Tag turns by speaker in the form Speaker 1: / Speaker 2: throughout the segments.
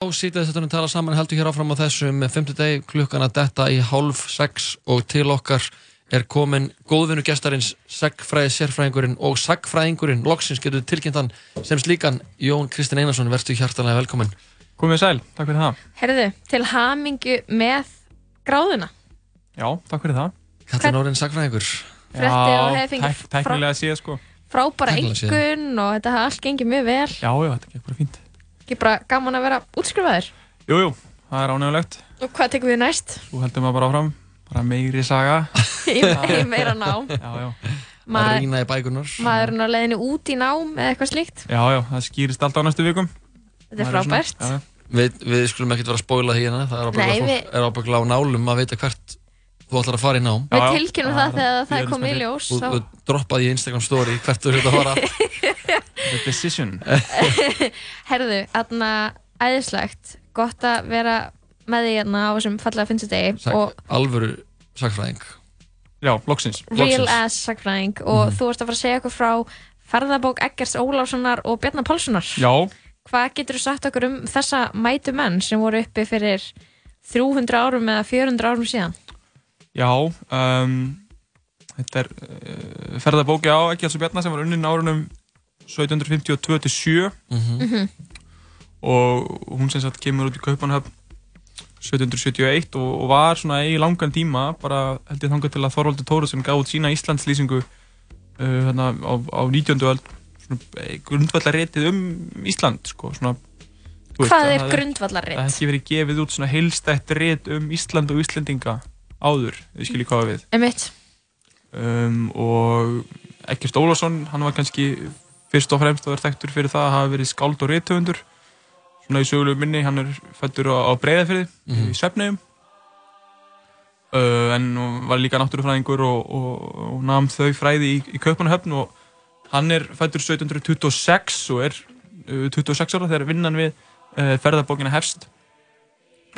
Speaker 1: á sítið þetta að tala saman heldur hér áfram á þessum 50 deg klukkan að detta í hálf 6 og til okkar er komin góðvinu gestarins sagfræði sérfræðingurinn og sagfræðingurinn loksins getur tilkynnt hann sem slíkan Jón Kristinn Einarsson, verðstu hjartalega velkominn
Speaker 2: Komið þið sæl, takk fyrir það.
Speaker 3: Herðu, til hamingu með gráðuna.
Speaker 2: Já, takk fyrir það.
Speaker 1: Þetta er Nórin sagfræðingur
Speaker 3: Frétti og
Speaker 2: Já,
Speaker 3: hefði fengið
Speaker 2: tæk- Tæknilega séð sko.
Speaker 3: Frábæra
Speaker 1: Tæknilega séð.
Speaker 3: einhvern og þetta hafði allt gengið mjög vel.
Speaker 2: Já, já, þetta gekk bara fínt.
Speaker 3: Ekki bara gaman að vera útskrifaður.
Speaker 2: Jú, jú, það er ánægulegt.
Speaker 3: Og hvað tekum við næst?
Speaker 2: Svo heldum við bara áfram. Bara meiri saga.
Speaker 3: Í, í meira nám.
Speaker 2: Já, já,
Speaker 1: að
Speaker 3: Maður,
Speaker 1: rýna í bækunar
Speaker 3: maður er á leiðinu út í nám eða eitthvað slíkt.
Speaker 2: já, já, það skýrist allt á næstu vikum.
Speaker 3: Þetta er
Speaker 2: Maður svona-
Speaker 3: frábært.
Speaker 2: Já, já.
Speaker 1: við, við skulum ekkert vera að spóila því hérna það er ábyggla,
Speaker 3: Nei,
Speaker 1: fólk, er ábyggla á nálum að vita hvert þú ætlar að fara í nám
Speaker 3: Við
Speaker 2: Já, já.
Speaker 3: tilkynum
Speaker 2: Já,
Speaker 3: það þegar
Speaker 2: ég
Speaker 3: það
Speaker 2: er
Speaker 3: er komið í
Speaker 2: spenntur.
Speaker 3: ljós.
Speaker 1: og,
Speaker 3: þá-
Speaker 1: og droppaði í Instagram story hvert þú ert að fara
Speaker 2: The decision.
Speaker 3: Herðu, aðna æðislegt. Gott að vera með því hérna á þessum fallega finnstudegi. Og
Speaker 1: Sag, alvöru sagfræðing
Speaker 2: Já, loksins. Mhm.
Speaker 3: real
Speaker 1: Loksins.
Speaker 3: ass sagfræðing og þú ert að fara að segja okkur frá ferðabók Eggers Ólafssonar og Bjarnar Pálssonar
Speaker 2: Já,
Speaker 3: hvað getur þú sagt okkur um þessa mætu menn sem voru uppi fyrir 300 árum eða 400 árum síðan
Speaker 2: já. Um, þetta er uh, ferðabóki á Eggjals og Bjarnar sem var unnin árunum 1752 til 7
Speaker 1: mm
Speaker 3: Mhm.
Speaker 2: og hún sem sagt kemur út í Kaupanhöfn 1771 og, og var svona í langan tíma bara held ég þangað til að Þorvaldur Tóruðsson gaf út sína Íslandslýsingu uh, hérna, á, á 19. öld svona grundvallar réttið um Ísland sko, svona þú veist,
Speaker 3: hvað
Speaker 2: að
Speaker 3: er
Speaker 2: það það hef
Speaker 3: grundvallarrið
Speaker 2: ekki verið gefið út svona heilstætt rétt um Ísland og Íslendinga áður, þau skilji hvað við
Speaker 3: Einmitt.
Speaker 2: um, og Ekkert Ólafsson, hann var kannski fyrst og fremst og er þekktur fyrir það að hafa verið skáld og rithöfundur svona í sögulegu minni, hann er fættur á, á breyðafyrði
Speaker 1: Mhm.
Speaker 2: í svefnegum uh, en nú var líka náttúrufræðingur og, og, og nam þau fræði í, í Kaupmannahöfn og hann er fættur 1726 og er uh, 26 ára þegar vinnan við uh, ferðabókina hefst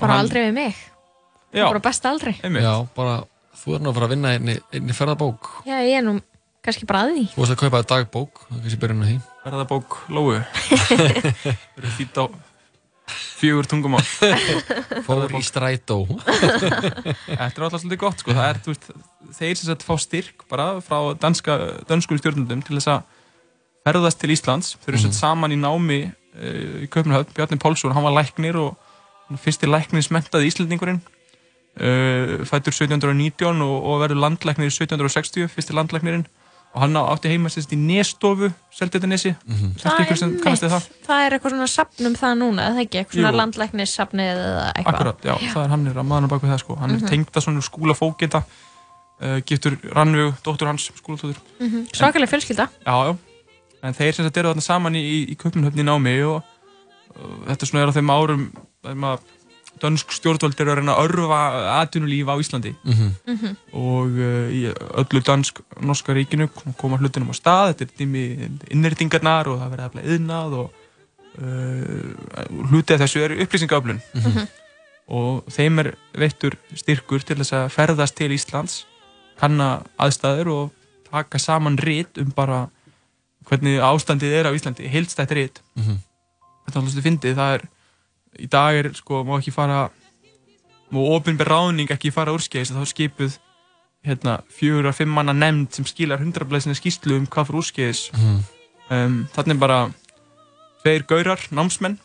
Speaker 3: bara
Speaker 2: Hann-
Speaker 3: aldrei við mig,
Speaker 2: Já,
Speaker 3: bara best aldrei
Speaker 2: einmitt
Speaker 1: Já, bara, þú er nú að fara að vinna einni, einni ferðabók.
Speaker 3: já ég er nú kannski bara að því
Speaker 1: Þú veist að kaupa þér dagbók, það er kannski byrjun á því.
Speaker 2: ferðabók Lóu eru þýtt á fjögur tungumál
Speaker 1: Fór í strætó.
Speaker 2: Þetta er alltaf svolítið gott sko. það er, þú veist, þeir sem sagt fá styrk bara frá danska, danskum stjórnundum til þess að ferðast til Íslands þeir eru sett saman í námi uh, í Kaupnahöfn, Bjarni Pálsson, hann var læknir og hann var fyrsti læknir smentaði Íslandingurinn uh, fættur 1719 og, og verður landlæknir 1760, fyrsti landlæknirinn og hann á- átti heima sérst í Nestofu Seldetanesi,
Speaker 1: Mhm.
Speaker 2: kannast ykkur sem kannast þið það
Speaker 3: einmitt. það er eitthvað svona sapnum það núna eða ekki, eitthvað svona
Speaker 2: Jú.
Speaker 3: landlæknissapnið eða eitthvað
Speaker 2: Akkurat, já, það er hann er að maður baku það sko. hann er tengda svona skúla fókita uh, giftur Rannvögu, dóttur hans skúlatóttur
Speaker 3: Mhm. svakaleg fjölskylda
Speaker 2: Já, já. En þeir sem þetta eru þarna saman í, í, í Kaupmannhöfni í námi og, og þetta svona er á þeim árum þeim að dönsk stjórnvöld eru að reyna að örfa atvinnulíf á Íslandi
Speaker 1: Mm
Speaker 2: og uh, í öllu dansk norska ríkinu koma hlutinum á stað, þetta er tími innrýtingarnar og það verða að bli yðnað og uh, hluti af þessu eru upplýsingaflun
Speaker 1: Mhm.
Speaker 2: og þeim er veittur styrkur til þess að ferðast til Íslands kanna aðstæður og taka saman rít um bara hvernig ástandið er á Íslandi, heilstætt rít
Speaker 1: Mhm.
Speaker 2: þetta er alltaf svolítið fyndið, það er í dag er sko, má ekki fara má opinber ráðning ekki fara úrskeis þá er skipuð hérna, fjögur að fimm manna nefnd sem skilar hundrablæsina skýslu um hvað fyrir úrskeis
Speaker 1: Mhm.
Speaker 2: um, þannig bara tveir gaurar, námsmenn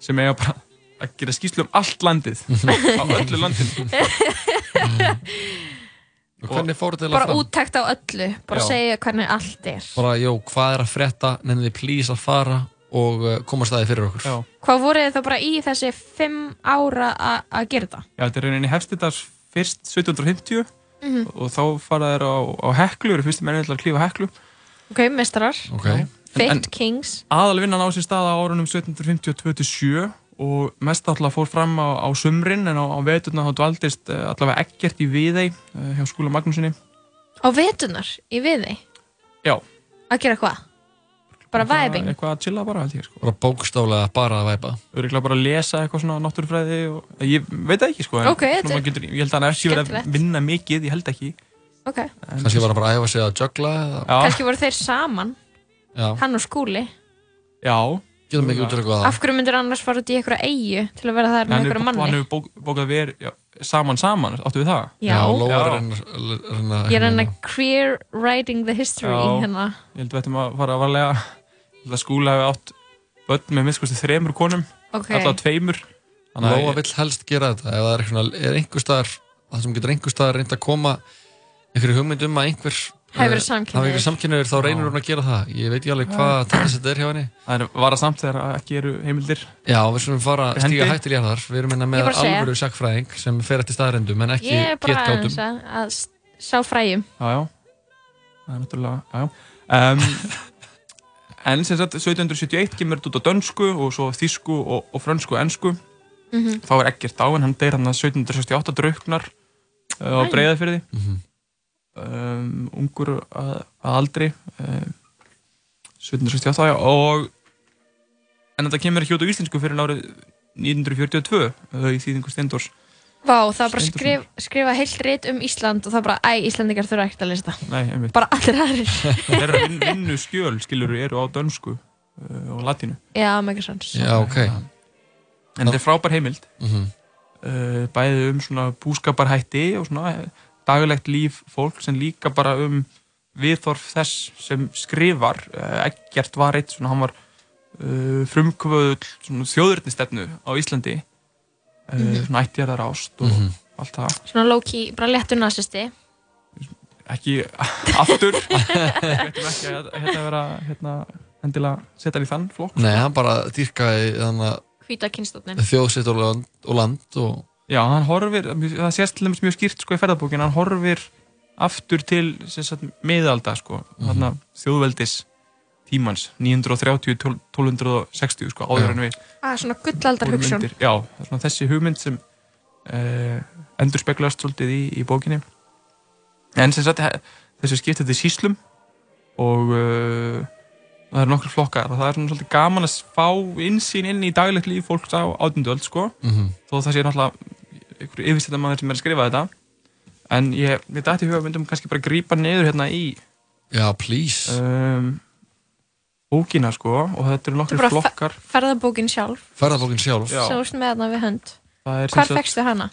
Speaker 2: sem eiga bara að gera skýslu um allt landið á öllu landinu
Speaker 1: Og hvernig fór þetta eiginlega
Speaker 3: bara
Speaker 1: fram?
Speaker 3: úttækt á öllu, bara
Speaker 2: Já.
Speaker 3: segja hvernig allt er
Speaker 1: Bara, jó, hvað er að frétta, nefnir þið please að fara og uh, koma staði fyrir okkur.
Speaker 2: já.
Speaker 3: Hvað voruð þið þá bara í þessi fimm ára a- að gera þetta?
Speaker 2: já, þetta er rauninni hefst þetta fyrst 1750 og þá fara þær á, á heklu, eru fyrstu mennið að klífa heklu
Speaker 3: Ok, mestrar,
Speaker 1: Ok,
Speaker 3: fit
Speaker 2: en-
Speaker 3: kings
Speaker 2: aðalvinnan á sér staða á árunum 1750-27 og mest alltaf fór fram á, á sumrin en á, á veturna þá dvaldist eh, allavega ekkert í viðei hjá skúla Magnúsinni
Speaker 3: á vetunar í viði
Speaker 2: Já.
Speaker 3: Að gera hvað? Bara væbing
Speaker 2: eitthvað að chilla bara held ég sko
Speaker 1: bara bókstaflega bara að væpa.
Speaker 2: örgulega bara að lesa eitthvað svona náttúrufræði og, ég veit það ekki sko en
Speaker 3: Ok, þetta
Speaker 2: svona
Speaker 3: er
Speaker 2: maður getur, ég held að hann er ekki verið
Speaker 3: skemmtilegt.
Speaker 2: að vinna mikið, ég held ekki
Speaker 3: Ok,
Speaker 2: en,
Speaker 1: Kannski var hann bara að æfa sig að juggla eða...
Speaker 2: já,
Speaker 3: kannski voru þeir saman
Speaker 1: Já,
Speaker 3: hann og skúli
Speaker 2: já,
Speaker 1: getum ekki útrökkvað það
Speaker 3: Af hverju myndir annars fara út í eitthvað eigu til að vera þar með
Speaker 2: hann
Speaker 3: einhverja
Speaker 2: hefur hann
Speaker 3: manni?
Speaker 2: hefur bók, bókað verið já, saman saman, áttu við það?
Speaker 3: Já,
Speaker 1: Lóa er
Speaker 2: Já.
Speaker 1: að reyna- reyna
Speaker 3: ég er hann að queer writing the history
Speaker 2: Já.
Speaker 3: hérna.
Speaker 2: Ég held að við ættum að fara að varlega Ég held að skúla hefur átt börn með minnskostið þremur konum,
Speaker 3: Ok,
Speaker 2: alltaf tveimur Þannig að-
Speaker 1: Lóa vill helst gera þetta ef það er, svona, er einhver staðar það sem getur einhver staðar reynd að koma einhverju hugmynd um að einhver
Speaker 3: Hafi verið
Speaker 1: eh,
Speaker 3: samkynhneigður.
Speaker 1: hafi verið samkynniður þá reynir hún að gera það ég veit ekki alveg hvað tennis þetta er hjá henni
Speaker 2: Það er vara samt þegar ekki eru heimildir
Speaker 1: Já, við skulum fara að stíga
Speaker 2: Hendi.
Speaker 1: hægt til jarðar við erum hérna
Speaker 3: Ég
Speaker 1: með
Speaker 3: bara segja.
Speaker 1: alvöru sakfræðing sem fer eftir staðarendum en ekki
Speaker 3: ég er bara
Speaker 1: getgátum
Speaker 3: aðeins að, að s- sá fræjum.
Speaker 2: Já, já Það er náttúrulega, já, já um, En sem sagt 1771 kemur þetta út á dönsku og svo þísku og, og frönsku og ensku
Speaker 3: Mhm.
Speaker 2: Þá er ekkert á en hann deyr hann að 1768 drauknar uh, á
Speaker 3: Æ.
Speaker 2: breiðafyrði
Speaker 1: Mhm.
Speaker 2: um, Ungur að, að aldri uh, 1768, já, og En þetta kemur ekki út á íslensku fyrir árið 1942 uh, í þýðingu Steindors
Speaker 3: Vá, það var bara
Speaker 2: Steindór
Speaker 3: skrif, skrifa heilt rétt um Ísland og það bara, æ, Íslandingar þurfa ekkert að lesa það.
Speaker 2: Nei, einmitt
Speaker 3: Bara allir aðrir.
Speaker 2: Þeirra vin, vinnu skjöl, skilur, eru á dönsku uh, og latínu
Speaker 3: Já, mega sans.
Speaker 1: Já, ok
Speaker 2: En þetta er frábær heimild,
Speaker 1: mm
Speaker 2: uh, bæði um svona búskaparhætti og svona eh, daglegt líf fólk sem líka bara um viðþorf þess sem skrifar uh, Eggert var eitt svona, hann var uh, frumkvöðull svona þjóðurðnistefnu á Íslandi uh, svona ættjarðar ást og
Speaker 1: Mhm.
Speaker 2: allt það
Speaker 3: Svona low-key, bara léttur nasisti.
Speaker 2: ekki aftur Þetta ekki að hérna vera hérna, endilega setja hann í þann flokk
Speaker 1: Nei, hann bara dýrkaði þannig að
Speaker 3: Hvíta kynstofnin.
Speaker 1: þjóðsitt og land og, land og
Speaker 2: Já, hann horfir, það sést til dæmis mjög skýrt sko í ferðabókin, hann horfir aftur til sem sagt, miðalda sko, mm þarna þjóðveldis tímans, 930 til 1260 sko, áður
Speaker 1: Já.
Speaker 2: en við
Speaker 3: Ah, svona gullaldar
Speaker 2: vorum
Speaker 3: hugsun.
Speaker 2: undir. Já, það er svona þessi hugmynd sem uh, endur speglast svolítið í, í bókinni en sem sagt he- þessu skipt þetta í síslum og uh, það eru nokkru flokkar og það er svona svolítið gaman að fá innsýn inn í daglegt líf fólks á átunduöld sko
Speaker 1: mm
Speaker 2: þó það sé náttúrulega einhverju yfirstættan maður sem er að skrifa þetta en ég, ég dætti huga að myndum kannski bara grípa niður hérna í
Speaker 1: Já, please
Speaker 2: um, bókina sko og þetta eru
Speaker 3: Þetta
Speaker 2: nokkri
Speaker 3: er bara
Speaker 2: flokkar
Speaker 3: Ferðabókin sjálf,
Speaker 1: Ferðabókin sjálf,
Speaker 2: Já.
Speaker 3: sem þú veist með þarna við hönd.
Speaker 2: það er sem
Speaker 3: Hvar
Speaker 2: sagt
Speaker 3: fegstu hana?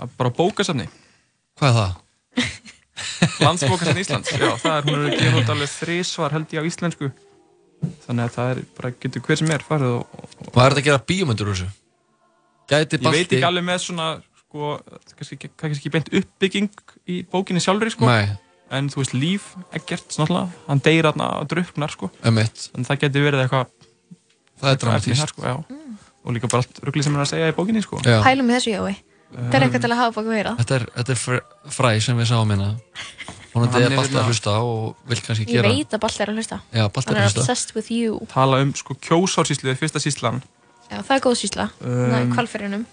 Speaker 2: að bara bókasafni
Speaker 1: hvað er það?
Speaker 2: landsbókasafni Íslands, já það er hún er að gefa út alveg þrísvar held ég á íslensku þannig að það er bara getur hver sem er farið og, og
Speaker 1: Hvað er þetta að gera bíómyndur úr þessu? Gæti
Speaker 2: ég veit
Speaker 1: Balti
Speaker 2: ekki alveg með svona sko, kannski, kannski beint uppbygging í bókinni sjálfri sko
Speaker 1: Nei,
Speaker 2: en þú veist líf, ekkert snáttúrulega, hann deyr hann að druknar sko
Speaker 1: um
Speaker 2: en það getur verið eitthvað
Speaker 1: Það er
Speaker 2: efni
Speaker 1: dramatíst
Speaker 2: þar sko, já og líka bara allt ruggli sem er að segja í bókinni sko
Speaker 1: Já.
Speaker 3: Pælum í þessu jói. Það er eitthvað til að hafa baka veira.
Speaker 1: Þetta er, þetta er fr- fræ sem við sáum hérna Hún
Speaker 2: Hann
Speaker 1: er
Speaker 2: er
Speaker 1: Balti
Speaker 2: hérna-
Speaker 1: að hlusta og vil kannski
Speaker 3: Ég
Speaker 1: gera
Speaker 3: veit að Balti er að hlusta.
Speaker 1: Já, Balti
Speaker 3: Hann
Speaker 1: að
Speaker 3: er
Speaker 1: hlusta
Speaker 3: obsessed with you.
Speaker 2: tala um sko kjósársýslu, eða fyrsta sýslan
Speaker 3: Já, það er góð sísla. Um,
Speaker 2: Um,
Speaker 3: Kvalfyrinum.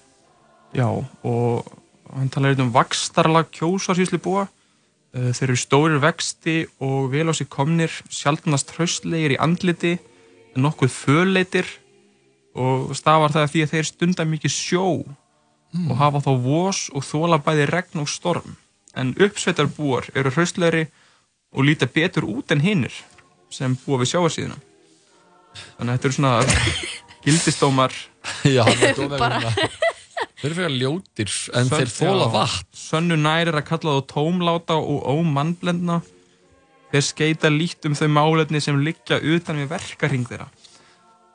Speaker 2: já, og hann talar eitthvað um vakstarlag kjósársýslu búa Eh, þeir eru stórir vexti og vel á sig komnir sjaldnast hraustlegir í andliti en nokkuð föleitir og stafar það af því að þeir stunda mikið sjó og hafa þá vós og þóla bæði regn og storm en uppsveitarbúar eru hraustlegri og líta betur út en hinnir sem búa við sjáarsíðuna þannig að þetta eru svona gildistómar
Speaker 1: Já, hann er góð
Speaker 3: Bara-
Speaker 1: með hérna Þeir eru fyrir ljótir en
Speaker 2: Sönn-
Speaker 1: þeir þóla
Speaker 2: já.
Speaker 1: vatn
Speaker 2: Sönnu nær er að kalla þá tómláta og ómannblendna Þeir skeita lítt um þau málefni sem liggja utan við verkaring þeirra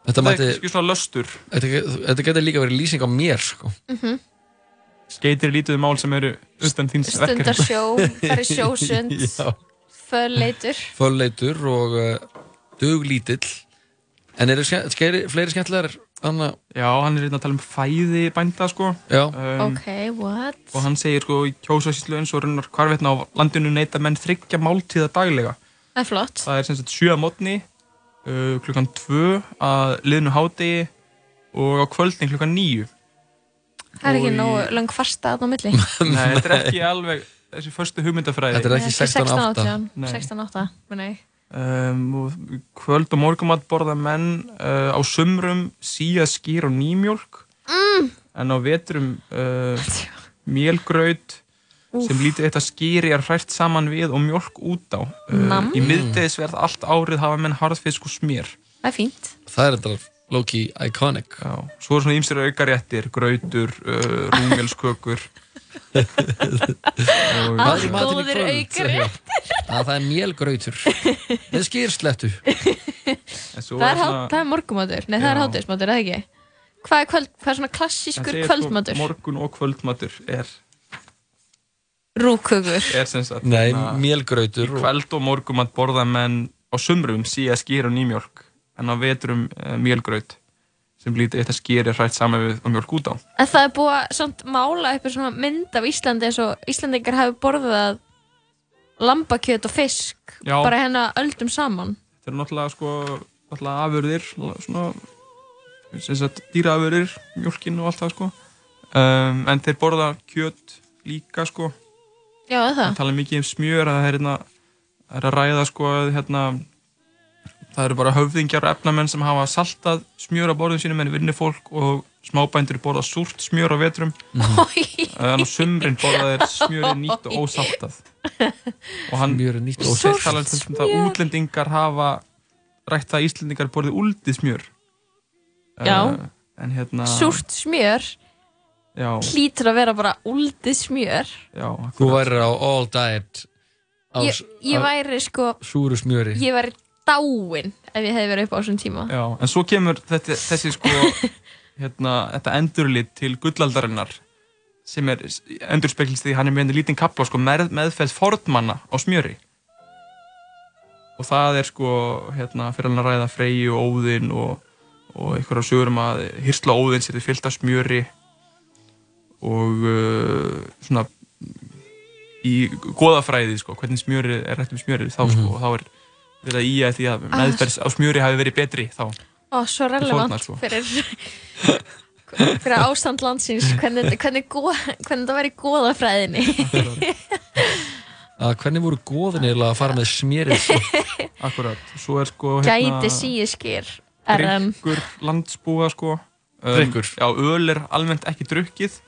Speaker 1: Þetta,
Speaker 2: Það er
Speaker 1: mætti,
Speaker 2: ekki svona löstur
Speaker 1: þetta, ge- þetta getur líka verið lýsing á mér sko.
Speaker 2: Skeitir lítið um mál sem eru utan þíns
Speaker 3: Stundar
Speaker 2: verkaring
Speaker 3: sjó, færi sjósund, föleitur.
Speaker 1: Fölleitur og uh, duglítill En eru ske, skeri, fleiri skemmtilegar Anna,
Speaker 2: Já, hann er einn að tala um fæði bænda sko
Speaker 1: já,
Speaker 2: um,
Speaker 3: Ok, what?
Speaker 2: Og hann segir sko í kjósasíslu eins og raunar hvarvetna á landinu neyta menn þryggja máltíða daglega
Speaker 3: Það er flott.
Speaker 2: Það er sem sagt 7 að mótni uh, klukkan 2 að liðnu hádegi og á kvöldin klukkan 9
Speaker 3: Það er
Speaker 2: og
Speaker 3: ekki
Speaker 2: í-
Speaker 3: nógu lang fasta aðna á milli.
Speaker 2: Nei, þetta er ekki alveg þessi förstu hugmyndafræði
Speaker 1: þetta er ekki 16-8
Speaker 2: Nei.
Speaker 3: 16-8, menn ég.
Speaker 2: um, og Kvöld og morgumat borða menn uh, á sumrum síða skýr og nýmjólk mm. en á vetrum uh, mjölgraut sem lítið þetta skýri er hrært saman við og mjólk út á uh,
Speaker 3: Namm.
Speaker 2: í miðdegisverð allt árið hafa menn harðfisk og smér
Speaker 3: Það er fínt.
Speaker 1: Það er þetta Loki Iconic
Speaker 2: Já, svo eru svona ýmsir aukaréttir, grautur, uh, rúmjölskökur og
Speaker 1: Hvað er í
Speaker 3: Allt
Speaker 1: matinn í
Speaker 3: góðir
Speaker 1: kvöld?
Speaker 3: aukarétt.
Speaker 1: Að það er mjölgrautur með skýrslettu
Speaker 2: en svo
Speaker 3: Það er,
Speaker 2: er
Speaker 3: há- það er morgumátur, nei það er
Speaker 2: Já.
Speaker 3: hátugismátur, eða ekki? Hvað er, kvöld, hvað er svona
Speaker 2: en
Speaker 3: klassískur
Speaker 2: segir sko,
Speaker 3: kvöldmátur?
Speaker 2: Morgun og kvöldmatur er,
Speaker 3: Rúkökur
Speaker 2: er sem sagt
Speaker 1: Nei,
Speaker 2: hérna,
Speaker 1: mjölgrautur og-
Speaker 2: Kveld og morgumat borða menn á sumrum síða skýr og nýmjólk en á vetrum uh, mjölgraut sem lítið eitt að skýri hrætt saman við og mjólk út á.
Speaker 3: En það er búið að samt mála upp svona mynd af Íslandi eins og Íslandingar hafi borðað lambakjöt og fisk
Speaker 2: Já.
Speaker 3: bara hérna öldum saman
Speaker 2: Þetta eru náttúrulega sko náttúrulega afurðir, svona sem sagt dýraafurðir, mjólkin og allt það sko um, en þeir borða kjöt líka sko
Speaker 3: Já, er
Speaker 2: það
Speaker 3: það?
Speaker 2: tala mikið um smjör að það er, hérna, það er að ræða sko að, hérna, það eru bara höfðingjar og efnamenn sem hafa saltað smjör á borðum sínum en vinnufólk og smábændur borða súrt smjör á vetrum
Speaker 3: Mm.
Speaker 2: en á sumrin borða þeir smjöri nýtt og ósaltað og hann
Speaker 1: mjög nýtt og
Speaker 2: og
Speaker 3: Súrt
Speaker 2: þeir tala um það að útlendingar hafa rætt það að Íslendingar borði úldið smjör
Speaker 3: Já.
Speaker 2: Eh, en hérna
Speaker 3: Súrt smjör
Speaker 2: já,
Speaker 3: hlýtur að vera bara úldið smjör
Speaker 2: já,
Speaker 1: Þú
Speaker 2: akkurat.
Speaker 1: væri á all diet á
Speaker 3: ég,
Speaker 1: s-
Speaker 3: ég
Speaker 1: á
Speaker 3: væri sko
Speaker 1: súru smjöri
Speaker 3: ég væri dáin ef ég hefði verið upp á þessum tíma
Speaker 2: Já, en svo kemur þetta, þessi sko hérna, þetta endurlit til gullaldarinnar sem er endurspeglist því hann er með einu lítinn kapla sko, með, meðferð fornmanna á smjöri og það er sko hérna, fyrir hann að ræða Freyju og Óðinn og, og einhverja sögur um að hirsla Óðinn sér fyllt af smjöri og uh, svona í goðafræði sko, hvernig smjöri er rætt um smjöri þá sko, og þá er verið að íja því að meðferð á smjöri hafi verið betri þá
Speaker 3: Ó, svo
Speaker 2: fórnar,
Speaker 3: relevant
Speaker 2: sko.
Speaker 3: fyrir fyrir ástand landsins hvernig, hvernig, go- hvernig það væri góðafræðinni
Speaker 1: að hvernig voru góðin eiginlega að fara með smjörið
Speaker 2: Akkurat, svo er sko
Speaker 3: gæti um, síðiskir RN
Speaker 2: drykkur landsbúa sko um,
Speaker 1: Drykkur.
Speaker 2: Já, öl er almennt ekki drukkið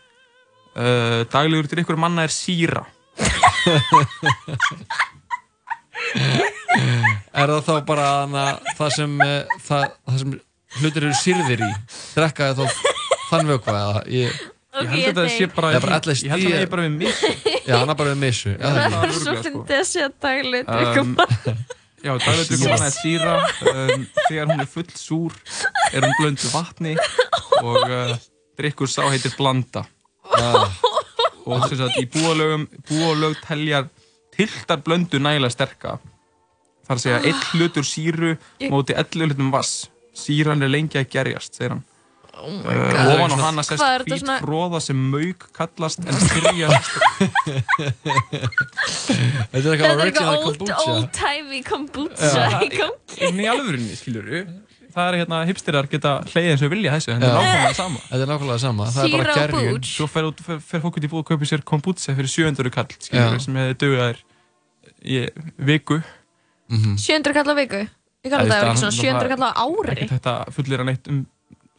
Speaker 2: uh, Daglegur drykkur manna er síra
Speaker 1: er það þá bara hana, það, sem, eh, það, það sem hlutir eru sirðir í drekka þá þann vökva eða ég,
Speaker 2: Ég held að þetta sé bara
Speaker 1: Það er bara LSD.
Speaker 2: Ég held að þetta er bara við mig
Speaker 1: já, hann er bara við missu eða
Speaker 3: það
Speaker 1: það
Speaker 3: er
Speaker 1: ekki?
Speaker 2: það
Speaker 3: bara
Speaker 2: er örugglega,
Speaker 3: svo
Speaker 2: sko.
Speaker 3: fyndið að segja daglega
Speaker 2: um,
Speaker 3: drikkum
Speaker 2: Já, daglegur drykkur manna er síra um, Þegar hún er full súr er hún blöndu vatni og uh, drykkur sá heitir blanda
Speaker 1: Ah,
Speaker 2: og sem sagt í búalögum búalög telja tiltar blöndu nægilega sterka þar að segja eitt hlutur síru
Speaker 3: Ég-
Speaker 2: móti 11 hlutum vass síran er lengi að gerjast, segir hann uh,
Speaker 1: God.
Speaker 2: ofan á hana sest
Speaker 3: Oh Hvað er þetta
Speaker 2: hvít
Speaker 3: svona-
Speaker 2: fróða sem mauk kallast en styrjast
Speaker 1: þetta er eitthvað
Speaker 3: þetta er
Speaker 1: original
Speaker 3: eitthvað old,
Speaker 1: kombucha
Speaker 3: old timey kombucha í gangi.
Speaker 2: inn í alvörinni, skilur það er hérna, hipsterar geta hleið eins og vilja þessu, þetta er
Speaker 1: Já.
Speaker 2: nákvæmlega sama
Speaker 1: þetta er nákvæmlega sama það er bara
Speaker 3: Zero
Speaker 1: gerjun
Speaker 3: booch.
Speaker 2: svo fer, út- fer, fer fólk út í búð og kaupir sér kombútsa fyrir 700 kall, skilur
Speaker 1: Já.
Speaker 2: sem hefði dögðar í viku
Speaker 1: Mhm.
Speaker 3: 700 kall á viku ég
Speaker 2: Já,
Speaker 3: kannu það
Speaker 2: ég
Speaker 3: er ekki
Speaker 2: veist
Speaker 3: svona
Speaker 2: það,
Speaker 3: 700 kall á ári
Speaker 2: ekkert þetta fullir hann eitt um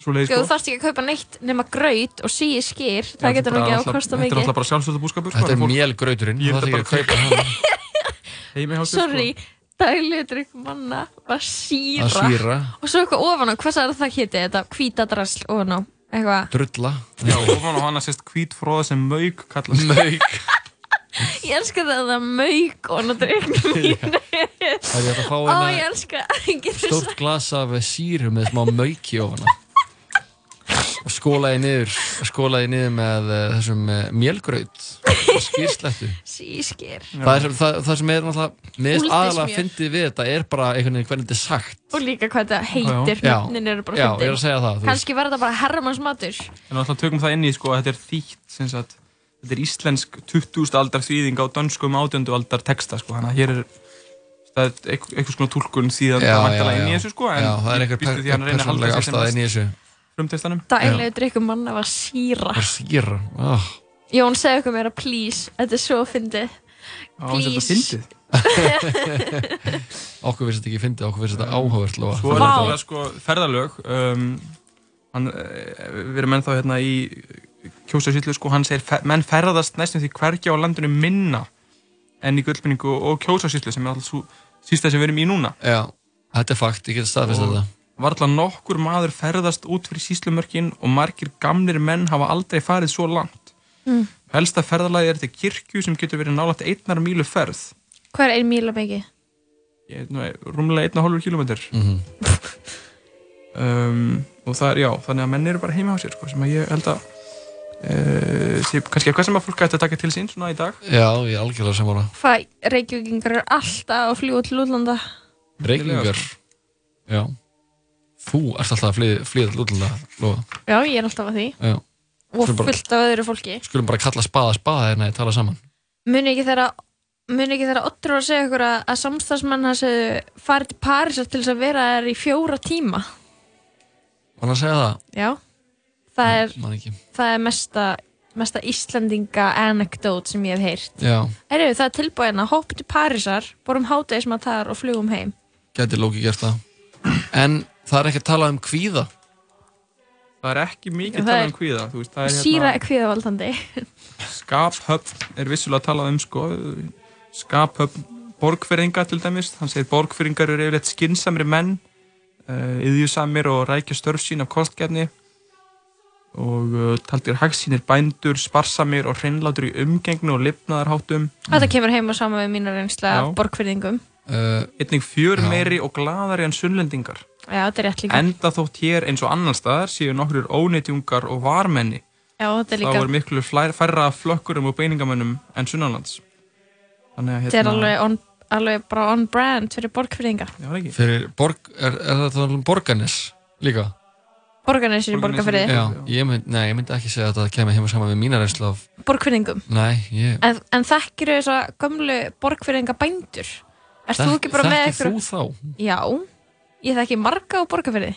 Speaker 2: svoleiði
Speaker 3: Sko, þú þarfst ekki að kaupa neitt nema graut og síðiskir það getur nú ekki að
Speaker 2: Þetta
Speaker 3: kosta
Speaker 2: er
Speaker 3: mikið
Speaker 2: alltaf bara sjálfsvöldabúskapur
Speaker 1: þetta er
Speaker 2: sko,
Speaker 1: mjölgrauturinn
Speaker 2: Ég
Speaker 1: það er ekki
Speaker 2: er
Speaker 1: að kaupa
Speaker 2: þetta
Speaker 1: hann
Speaker 2: Heimi sko. hátir
Speaker 3: sorry,
Speaker 1: Sko.
Speaker 3: daglegur drikk manna var síra.
Speaker 1: að sýra,
Speaker 3: og svo eitthvað ofan á, hvað sagði það héti þetta hvítadrasl ofan á, eitthvað
Speaker 1: drulla
Speaker 2: sko Já, ofan á hana sést hvít fróða sem mauk kallast
Speaker 1: mauk
Speaker 3: ég elska það að það mauk ofan á drikknum mínu
Speaker 1: það er ég að fá
Speaker 3: ó, ég
Speaker 1: eina
Speaker 3: elska getur
Speaker 1: stórt glas af sýru með smá mauki ofan á. og skólaði niður skólaði niður með eh, þessum eh, mjölgraut og skýrslettu
Speaker 3: sískir
Speaker 1: það, er, sem- það, það sem er náttúrulega meðist
Speaker 3: Úldismjör.
Speaker 1: aðalega að fyndið við þetta er bara einhvern veginn hvernig þetta er sagt
Speaker 3: og líka hvað þetta heitir
Speaker 1: Já.
Speaker 3: nöfnin eru
Speaker 1: já,
Speaker 3: bara
Speaker 1: ég er að
Speaker 3: hundin
Speaker 1: segja það þú veist.
Speaker 3: kannski var þetta bara herramannsmatur
Speaker 2: En alltaf tökum það inn í sko að þetta er þýtt sem sagt Þetta er íslensk 20. aldar þýðing á dönskum 18. aldar texta sko Þannig að hér er það er einhver- einhvers konar túlkun síðan
Speaker 1: Já,
Speaker 2: það
Speaker 1: já,
Speaker 2: vantalega inn í
Speaker 1: já.
Speaker 2: þessu sko En
Speaker 1: já, það er
Speaker 2: ég
Speaker 1: einhver
Speaker 2: býst við því að hann
Speaker 1: per-
Speaker 2: reyna að halda
Speaker 1: persónulega
Speaker 2: sér sem
Speaker 1: afstæða inn
Speaker 2: mest
Speaker 1: í þessu
Speaker 2: frumtextanum
Speaker 3: daglegur drikk manna var síra
Speaker 1: bara sýra oh.
Speaker 3: Jón, segðu okkur meira, please, þetta er svo fyndið
Speaker 2: Já, þess að þetta fyndið
Speaker 3: Please.
Speaker 1: okkur finnst þetta ekki fyndið, okkur finnst þetta áhugavert Lóa.
Speaker 2: Svo er
Speaker 3: Vá.
Speaker 2: þetta sko ferðalög um, hann, eh, Við erum ennþá hérna í kjósasýtlu sko, hann segir fer, menn ferðast næstum því hvergi á landinu minna en í gullminningu og kjósasýtlu sem er alltaf svo sísta sem við erum í núna
Speaker 1: já, þetta er fakt, ég get staðfest
Speaker 2: Og-
Speaker 1: þetta
Speaker 2: varla nokkur maður ferðast út fyrir síslumörkin og margir gamlir menn hafa aldrei farið svo langt.
Speaker 3: Mm.
Speaker 2: Helsta ferðalagi er til kirkju sem getur verið nálægt einnar mílu ferð.
Speaker 3: Hvað er ein míla mikið?
Speaker 2: Ég, nú, rúmlega einna hálfur kilómetr.
Speaker 1: Mhm.
Speaker 2: Um, og það er, já, þannig að menn eru bara heima á sér, sko, sem að ég held að uh, sé, kannski eitthvað sem að fólk ætti að taka til sín svona í dag.
Speaker 1: Já, ég er algjörlega saman
Speaker 3: Hvað, reykjökingar eru alltaf að fljúa til útlanda
Speaker 1: Reykingar Já Þú ert alltaf að flýða flý, lútlunda Lóa.
Speaker 3: Já, ég er alltaf að því
Speaker 1: Já.
Speaker 3: Og
Speaker 1: Svo bara-
Speaker 3: fullt af öðru fólki
Speaker 1: Skulum bara kalla spaða spaða þegar neði tala saman
Speaker 3: Muni ekki þegar Muni ekki þegar Ottur var að segja ykkur að, að samstagsmenn hans hefðu farið til Parísar til þess að vera þær í fjóra tíma
Speaker 1: Var hann að segja það?
Speaker 3: Já Það er,
Speaker 1: Man ekki
Speaker 3: það er mesta, mesta Íslandinga anekdót sem ég hef heyrt
Speaker 1: Já
Speaker 3: Erðu, það er tilbúin að hoppa til Parísar borum hátegismat þar og flugum heim
Speaker 1: Gæti Lóki gert það En það er ekki að tala um kvíða
Speaker 2: Það er ekki mikið
Speaker 3: Já, það
Speaker 2: talað
Speaker 3: er-
Speaker 2: um kvíða, þú veist, það er hérna
Speaker 3: Sýra er kviðavaldandi
Speaker 2: skaphöfn er vissulega talað um sko, skaphöfn borgfyrringa til dæmis, hann segir borgfyrringar eru yfirleitt skinsamri menn uh, yðjusamir og rækja störf sín af kostgefni og uh, taldir hagsínir bændur sparsamir og hreinlátur í umgengnu og lifnaðarháttum,
Speaker 3: Þetta kemur heim og sama við mína reynsla
Speaker 2: Já.
Speaker 3: af borgfyrðingum
Speaker 1: uh,
Speaker 2: einnig fjör
Speaker 1: Já.
Speaker 2: meiri og gladari en sunnlendingar
Speaker 3: Já, þetta er rétt líka
Speaker 2: enda þótt hér eins og annar staðar séu nokkur óneitjungar og varmenni
Speaker 3: Já, þetta er
Speaker 2: þá
Speaker 3: líka
Speaker 2: er miklu flær, færra flökkurum og beiningamönnum en sunnanlands Þannig að hérna-
Speaker 3: Þetta er alveg, on, alveg bara on brand fyrir borgfyrðinga
Speaker 2: Já, það er ekki.
Speaker 1: Fyrir borg Er, er það tala um borganes líka?
Speaker 3: Borgarnesir í borgarfyrði
Speaker 1: Já, Ég mynd, Nei, ég myndi ekki segja að það kemur heima saman við mína reynslu af
Speaker 3: Borgfyrðingum
Speaker 1: Nei, ég
Speaker 3: En, en þekkir þau þess að gömlu borgfyrðinga bændur? Erst þú ekki bara með
Speaker 1: Þekkir þú
Speaker 3: ykkur?
Speaker 1: þá?
Speaker 3: Já, ég þekki marga á borgarfyrði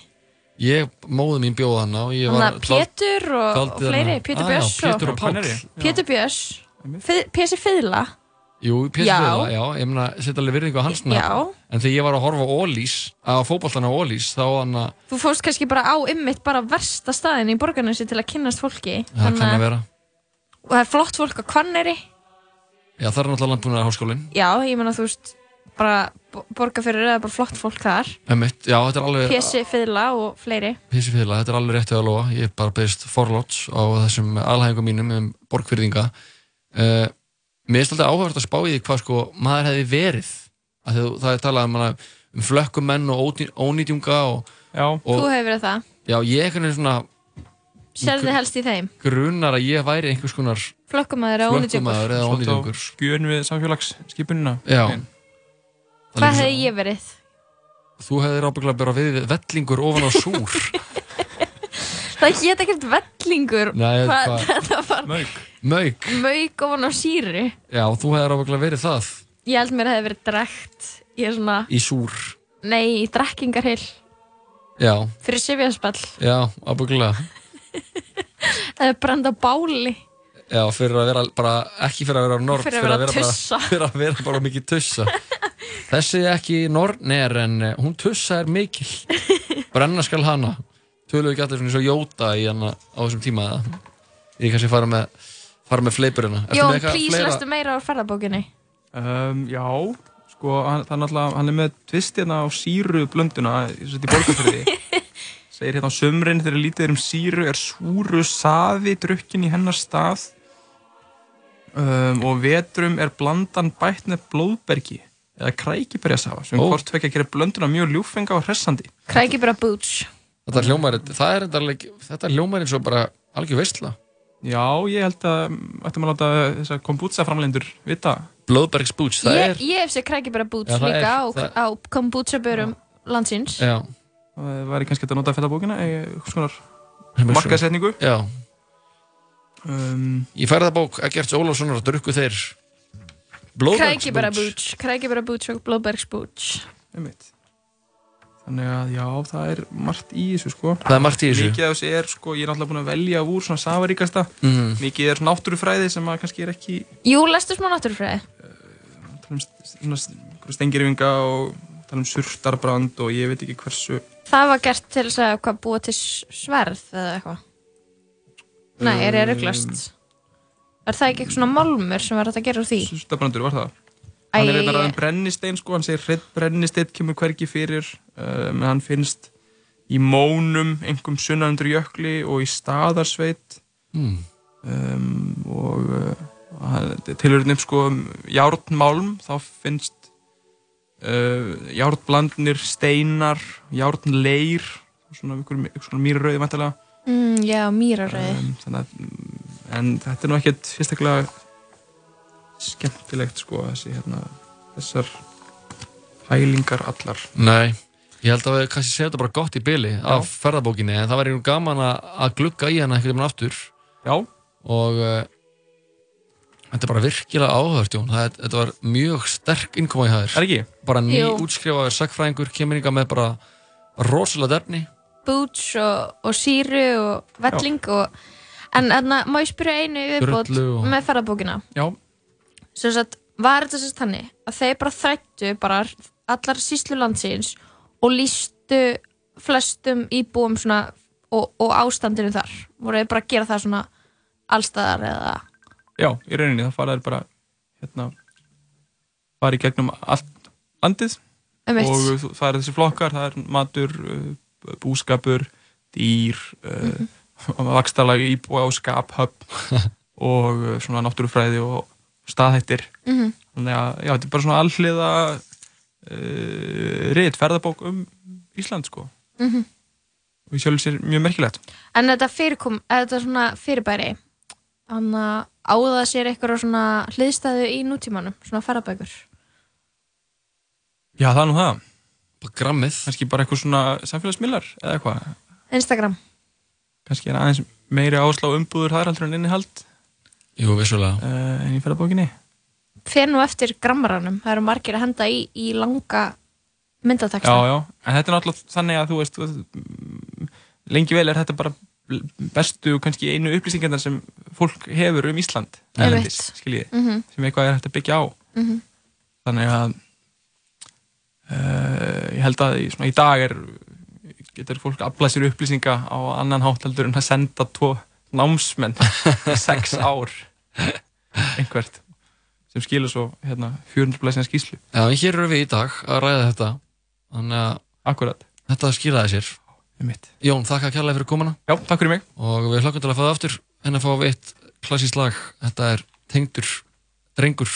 Speaker 1: Ég, móðu mín bjóð hann á Ég
Speaker 3: Þannig
Speaker 1: var
Speaker 3: að Pétur og,
Speaker 1: dvald-
Speaker 3: og
Speaker 1: dvaldi
Speaker 3: fleiri
Speaker 1: þarna.
Speaker 3: Pétur
Speaker 1: Ah, já,
Speaker 3: Björns og
Speaker 1: Pétur og Páll
Speaker 2: Hvanneyri? Já.
Speaker 3: Pétur Björns
Speaker 2: Einmitt.
Speaker 3: Fið- Pési Fiðla
Speaker 1: Jú, Pétur
Speaker 3: Já.
Speaker 1: Fiðla, já, ég meina, setja alveg virðingu á hans nafn.
Speaker 3: Já,
Speaker 1: En þegar ég var að horfa á Ólís, að fótballtana Ólís, þá hann að,
Speaker 3: þú fórst kannski bara á ymmit bara versta staðin í borgarnesi til að kynnast fólki
Speaker 1: það kann að vera.
Speaker 3: og það er flott fólk á Hvanneri
Speaker 1: Já, það er náttúrulega landbúnaðarháskólinn,
Speaker 3: já, ég meina þú veist bara borga fyrir það er bara flott fólk þar
Speaker 1: emmitt, já, þetta er alveg,
Speaker 3: Pési, Fiðla og fleiri
Speaker 1: Pési Fiðla, þetta er alveg réttið að lofa, ég er bara beðist forlóts á þessum alhæfingum mínum um borgfyrðinga. Uh, mér er alltaf áhverfart að spá í því hvað sko maður hefði verið, að þú, það er talað um, hana- um flökkumenn og ódý- ónýtjunga og,
Speaker 2: Já,
Speaker 3: þú
Speaker 1: og
Speaker 3: hefur verið það,
Speaker 1: já, ég einhvern veginn svona
Speaker 3: sér þið helst í þeim
Speaker 1: grunar að ég væri einhvers konar
Speaker 3: flökkumæður og ónutjöngur
Speaker 1: flökkumæður eða
Speaker 2: Svolítið á
Speaker 1: ónýtjungur.
Speaker 2: skjön við samfélagsskipunina.
Speaker 1: Já.
Speaker 2: En
Speaker 3: hvað hefði ég verið?
Speaker 1: Þú hefðir ábygglega bara verið vellingur ofan á súr
Speaker 3: það hétt ekkert vellingur
Speaker 1: Nei,
Speaker 3: Hvað-
Speaker 1: hvað-
Speaker 3: þetta var
Speaker 2: Mauk.
Speaker 1: Mauk,
Speaker 3: mauk ofan á síru
Speaker 1: já, þú hefðir ábygglega verið það
Speaker 3: ég held mér að það hefði verið drekt ég er svona,
Speaker 1: Í súr
Speaker 3: nei, í drekkingarhill
Speaker 1: Já,
Speaker 3: fyrir sifjarspall,
Speaker 1: já, ábygglega
Speaker 3: eða brenda báli
Speaker 1: Já, fyrir að vera bara, ekki fyrir að vera norn
Speaker 3: Fyrir að vera tussa.
Speaker 1: bara, Fyrir að vera bara mikið tussa Þessi ekki norn er en eh, hún tussa er mikil Brenna skal hana Tölum við ekki allir svona eins og jóta í hana á þessum tíma eða? Ég kannski fara með, fara með fleipurina Ertu
Speaker 3: Jón,
Speaker 1: með eitthvað
Speaker 3: please,
Speaker 1: fleira?
Speaker 3: lestu meira á ferðabókinni
Speaker 2: Um, já, sko, hann, það er náttúrulega, hann er með tvist hérna á síru blönduna, ég seti í borgarfyrði. Segir hérna á sömrin þegar lítið er um síru, er súru safi drukkin í hennar stað um, og vetrum er blandan bætt með blóðbergi eða krækibæriasafa sem
Speaker 1: Ó.
Speaker 2: hvort tvekja gerir blönduna mjög ljúfenga og hressandi.
Speaker 3: krækir bara boots
Speaker 1: Þetta hljómar, það er endarleik, þetta hljómar eins og bara algjör veistla.
Speaker 2: Já, ég held að mm, ættum að láta þess að kombútsa framlendur vita.
Speaker 1: Blóðbergs boots, það
Speaker 3: ég,
Speaker 1: er,
Speaker 3: ég hef sér krækir bara boots
Speaker 1: Já, það
Speaker 3: líka
Speaker 1: er-
Speaker 3: á,
Speaker 1: það- Eh,
Speaker 3: á kombútsabörum landsins
Speaker 1: já,
Speaker 2: Það væri kannski hægt að nota eh, fettabókina, eitthvað skonar
Speaker 1: sem er svo-
Speaker 2: markaðsetningu.
Speaker 1: Já,
Speaker 2: Um,
Speaker 1: ég færði það bók að gert Ólafssonar að drukku þeir
Speaker 3: krækir bara boots krækir bara boots og blóðbergs boots
Speaker 2: einmitt. Þannig að já, það er margt í þessu sko.
Speaker 1: Það er margt í þessu.
Speaker 2: Mikið af þessu er sko, ég er náttúrulega búin að velja úr svona safaríkasta.
Speaker 1: Mm.
Speaker 2: Mikið er náttúrufræði sem að kannski er ekki
Speaker 3: jú, lestu smá náttúrufræði
Speaker 2: tala um st- svona st- stengirfinga og tala um surtarbrand og ég veit ekki hversu.
Speaker 3: það var gert til þess að hvað búa til s- sverð eða eitthvað nei, er ég rugglast
Speaker 2: Um,
Speaker 3: er það ekki eitthvað svona málmur sem var hægt að gera úr því
Speaker 2: Surtarbrandur var það.
Speaker 3: Æ,
Speaker 2: Hann er einnig að ræða um brennistein sko, eh, hann segir hreitt brennistein kemur hvergi fyrir, uh, menn hann finnst í Mónum, engum sunnandur jökli og í Staðarsveit
Speaker 1: Mm.
Speaker 2: um, og uh, tilhörnum sko um járnmálm þá finnst uh, járnblandnir steinar, járnleir svona ykkur, ykkur svona mýrarauði vantilega
Speaker 3: Mm, já, mýrarauði.
Speaker 2: um, þannig að mm, en þetta er nú ekkert fyrstaklega skemmtilegt sko þessi hérna þessar pælingar allar
Speaker 1: Nei, ég held að við kannski segja þetta bara gott í byli af ferðabókinni en það væri nú gaman að, að glugga í hana einhvern veginn aftur
Speaker 2: já,
Speaker 1: og uh, þetta er bara virkilega áhört Jón, það, þetta var mjög sterk innkoma í
Speaker 2: er
Speaker 1: hæður,
Speaker 2: ekki?
Speaker 1: bara ný
Speaker 3: Jú.
Speaker 1: útskrifaður sakfræðingur, kemur ykkar með bara rosalega derni
Speaker 3: Boots og, og síru og velling og... En þarna, má ég spyrja einu viðbót
Speaker 1: Drullu og-
Speaker 3: með ferðabókina?
Speaker 2: já,
Speaker 3: sem sagt, var þetta sérst þannig að þeir bara þrættu bara allar síslu landsins og lístu flestum íbúum svona og, og ástandinu þar voru þeir bara að gera það svona allstaðar eða
Speaker 2: já, í rauninni þá fara þær bara hérna fara í gegnum allt landið
Speaker 3: um eitt
Speaker 2: og þú- það er þessi flokkar, það er matur uh, búskapur, dýr uh, mm vakstarlag íbúa og skaphöpp og uh, svona náttúrufræði og staðhættir
Speaker 3: Mhm.
Speaker 2: þannig að já, þetta er bara svona alliða uh, reyt ferðabók um Ísland sko
Speaker 3: Mhm.
Speaker 2: og í sjálf sér mjög merkilegt
Speaker 3: en þetta fyrirkom, eða þetta svona fyrirbæri þannig að áða sér eitthvað svona hliðstæðu í nútímanum svona ferðabækur
Speaker 2: já það er nú það,
Speaker 1: bara grammið,
Speaker 2: kannski bara eitthvað svona samfélagsmiðlar eða eitthvað,
Speaker 3: Instagram
Speaker 2: kannski er aðeins meiri áslá umbúður þar heldur en innihald
Speaker 1: jú, vissulega
Speaker 2: uh, en í ferðabókinni
Speaker 3: fer nú eftir grammaranum, það eru margir að henda í, í langa myndataksta
Speaker 2: já, já, en þetta er náttúrulega þannig að þú veist þú- mm, lengi vel er þetta bara bestu kannski einu upplýsingarnar sem fólk hefur um Ísland
Speaker 3: Einmitt.
Speaker 2: erlendis, skiljiði,
Speaker 3: mm
Speaker 2: sem eitthvað er hægt að byggja á
Speaker 3: Mhm.
Speaker 2: þannig að uh, ég held að í, svona, í dag er getur fólk aflað sér upplýsinga á annan háttaldur en að senda tvo námsmenn í sex ár einhvert sem skilur svo hérna 400 blæsina skýslu,
Speaker 1: Já, en hér eru við í dag að ræða þetta þannig að
Speaker 2: akkurat
Speaker 1: þetta skilaði sér
Speaker 2: um mitt.
Speaker 1: Jón, þakka kærlega fyrir komuna
Speaker 2: Já, takk fyrir mig
Speaker 1: og við hlokkum til að fá það aftur en að fá við eitt klassísk lag þetta er tengdur drengur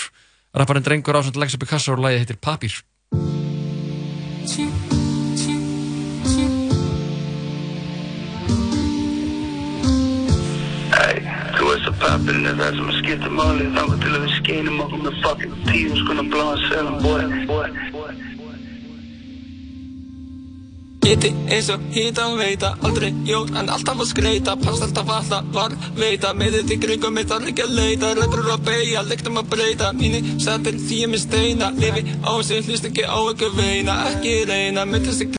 Speaker 1: rapparinn drengur ásend Lexa Picasso og lagið heitir Papír
Speaker 4: Hey, so what's up poppin'? That's how some skip the money. I'm gonna tell the skin and welcome the fucking teams. Gonna blow and sell 'em, boy, boy, boy, boy.
Speaker 5: Geti eins og hýta veita Aldrei jón en alltaf að skreita Past alltaf alla varð veita Með þetta í kringum mitt þarf ekki að leita Rættur að beigja, lyktum að breyta Mínu sættir því ég mér steina Lifi á sig, hlust ekki á ykkur veina Ekki reyna, með þessi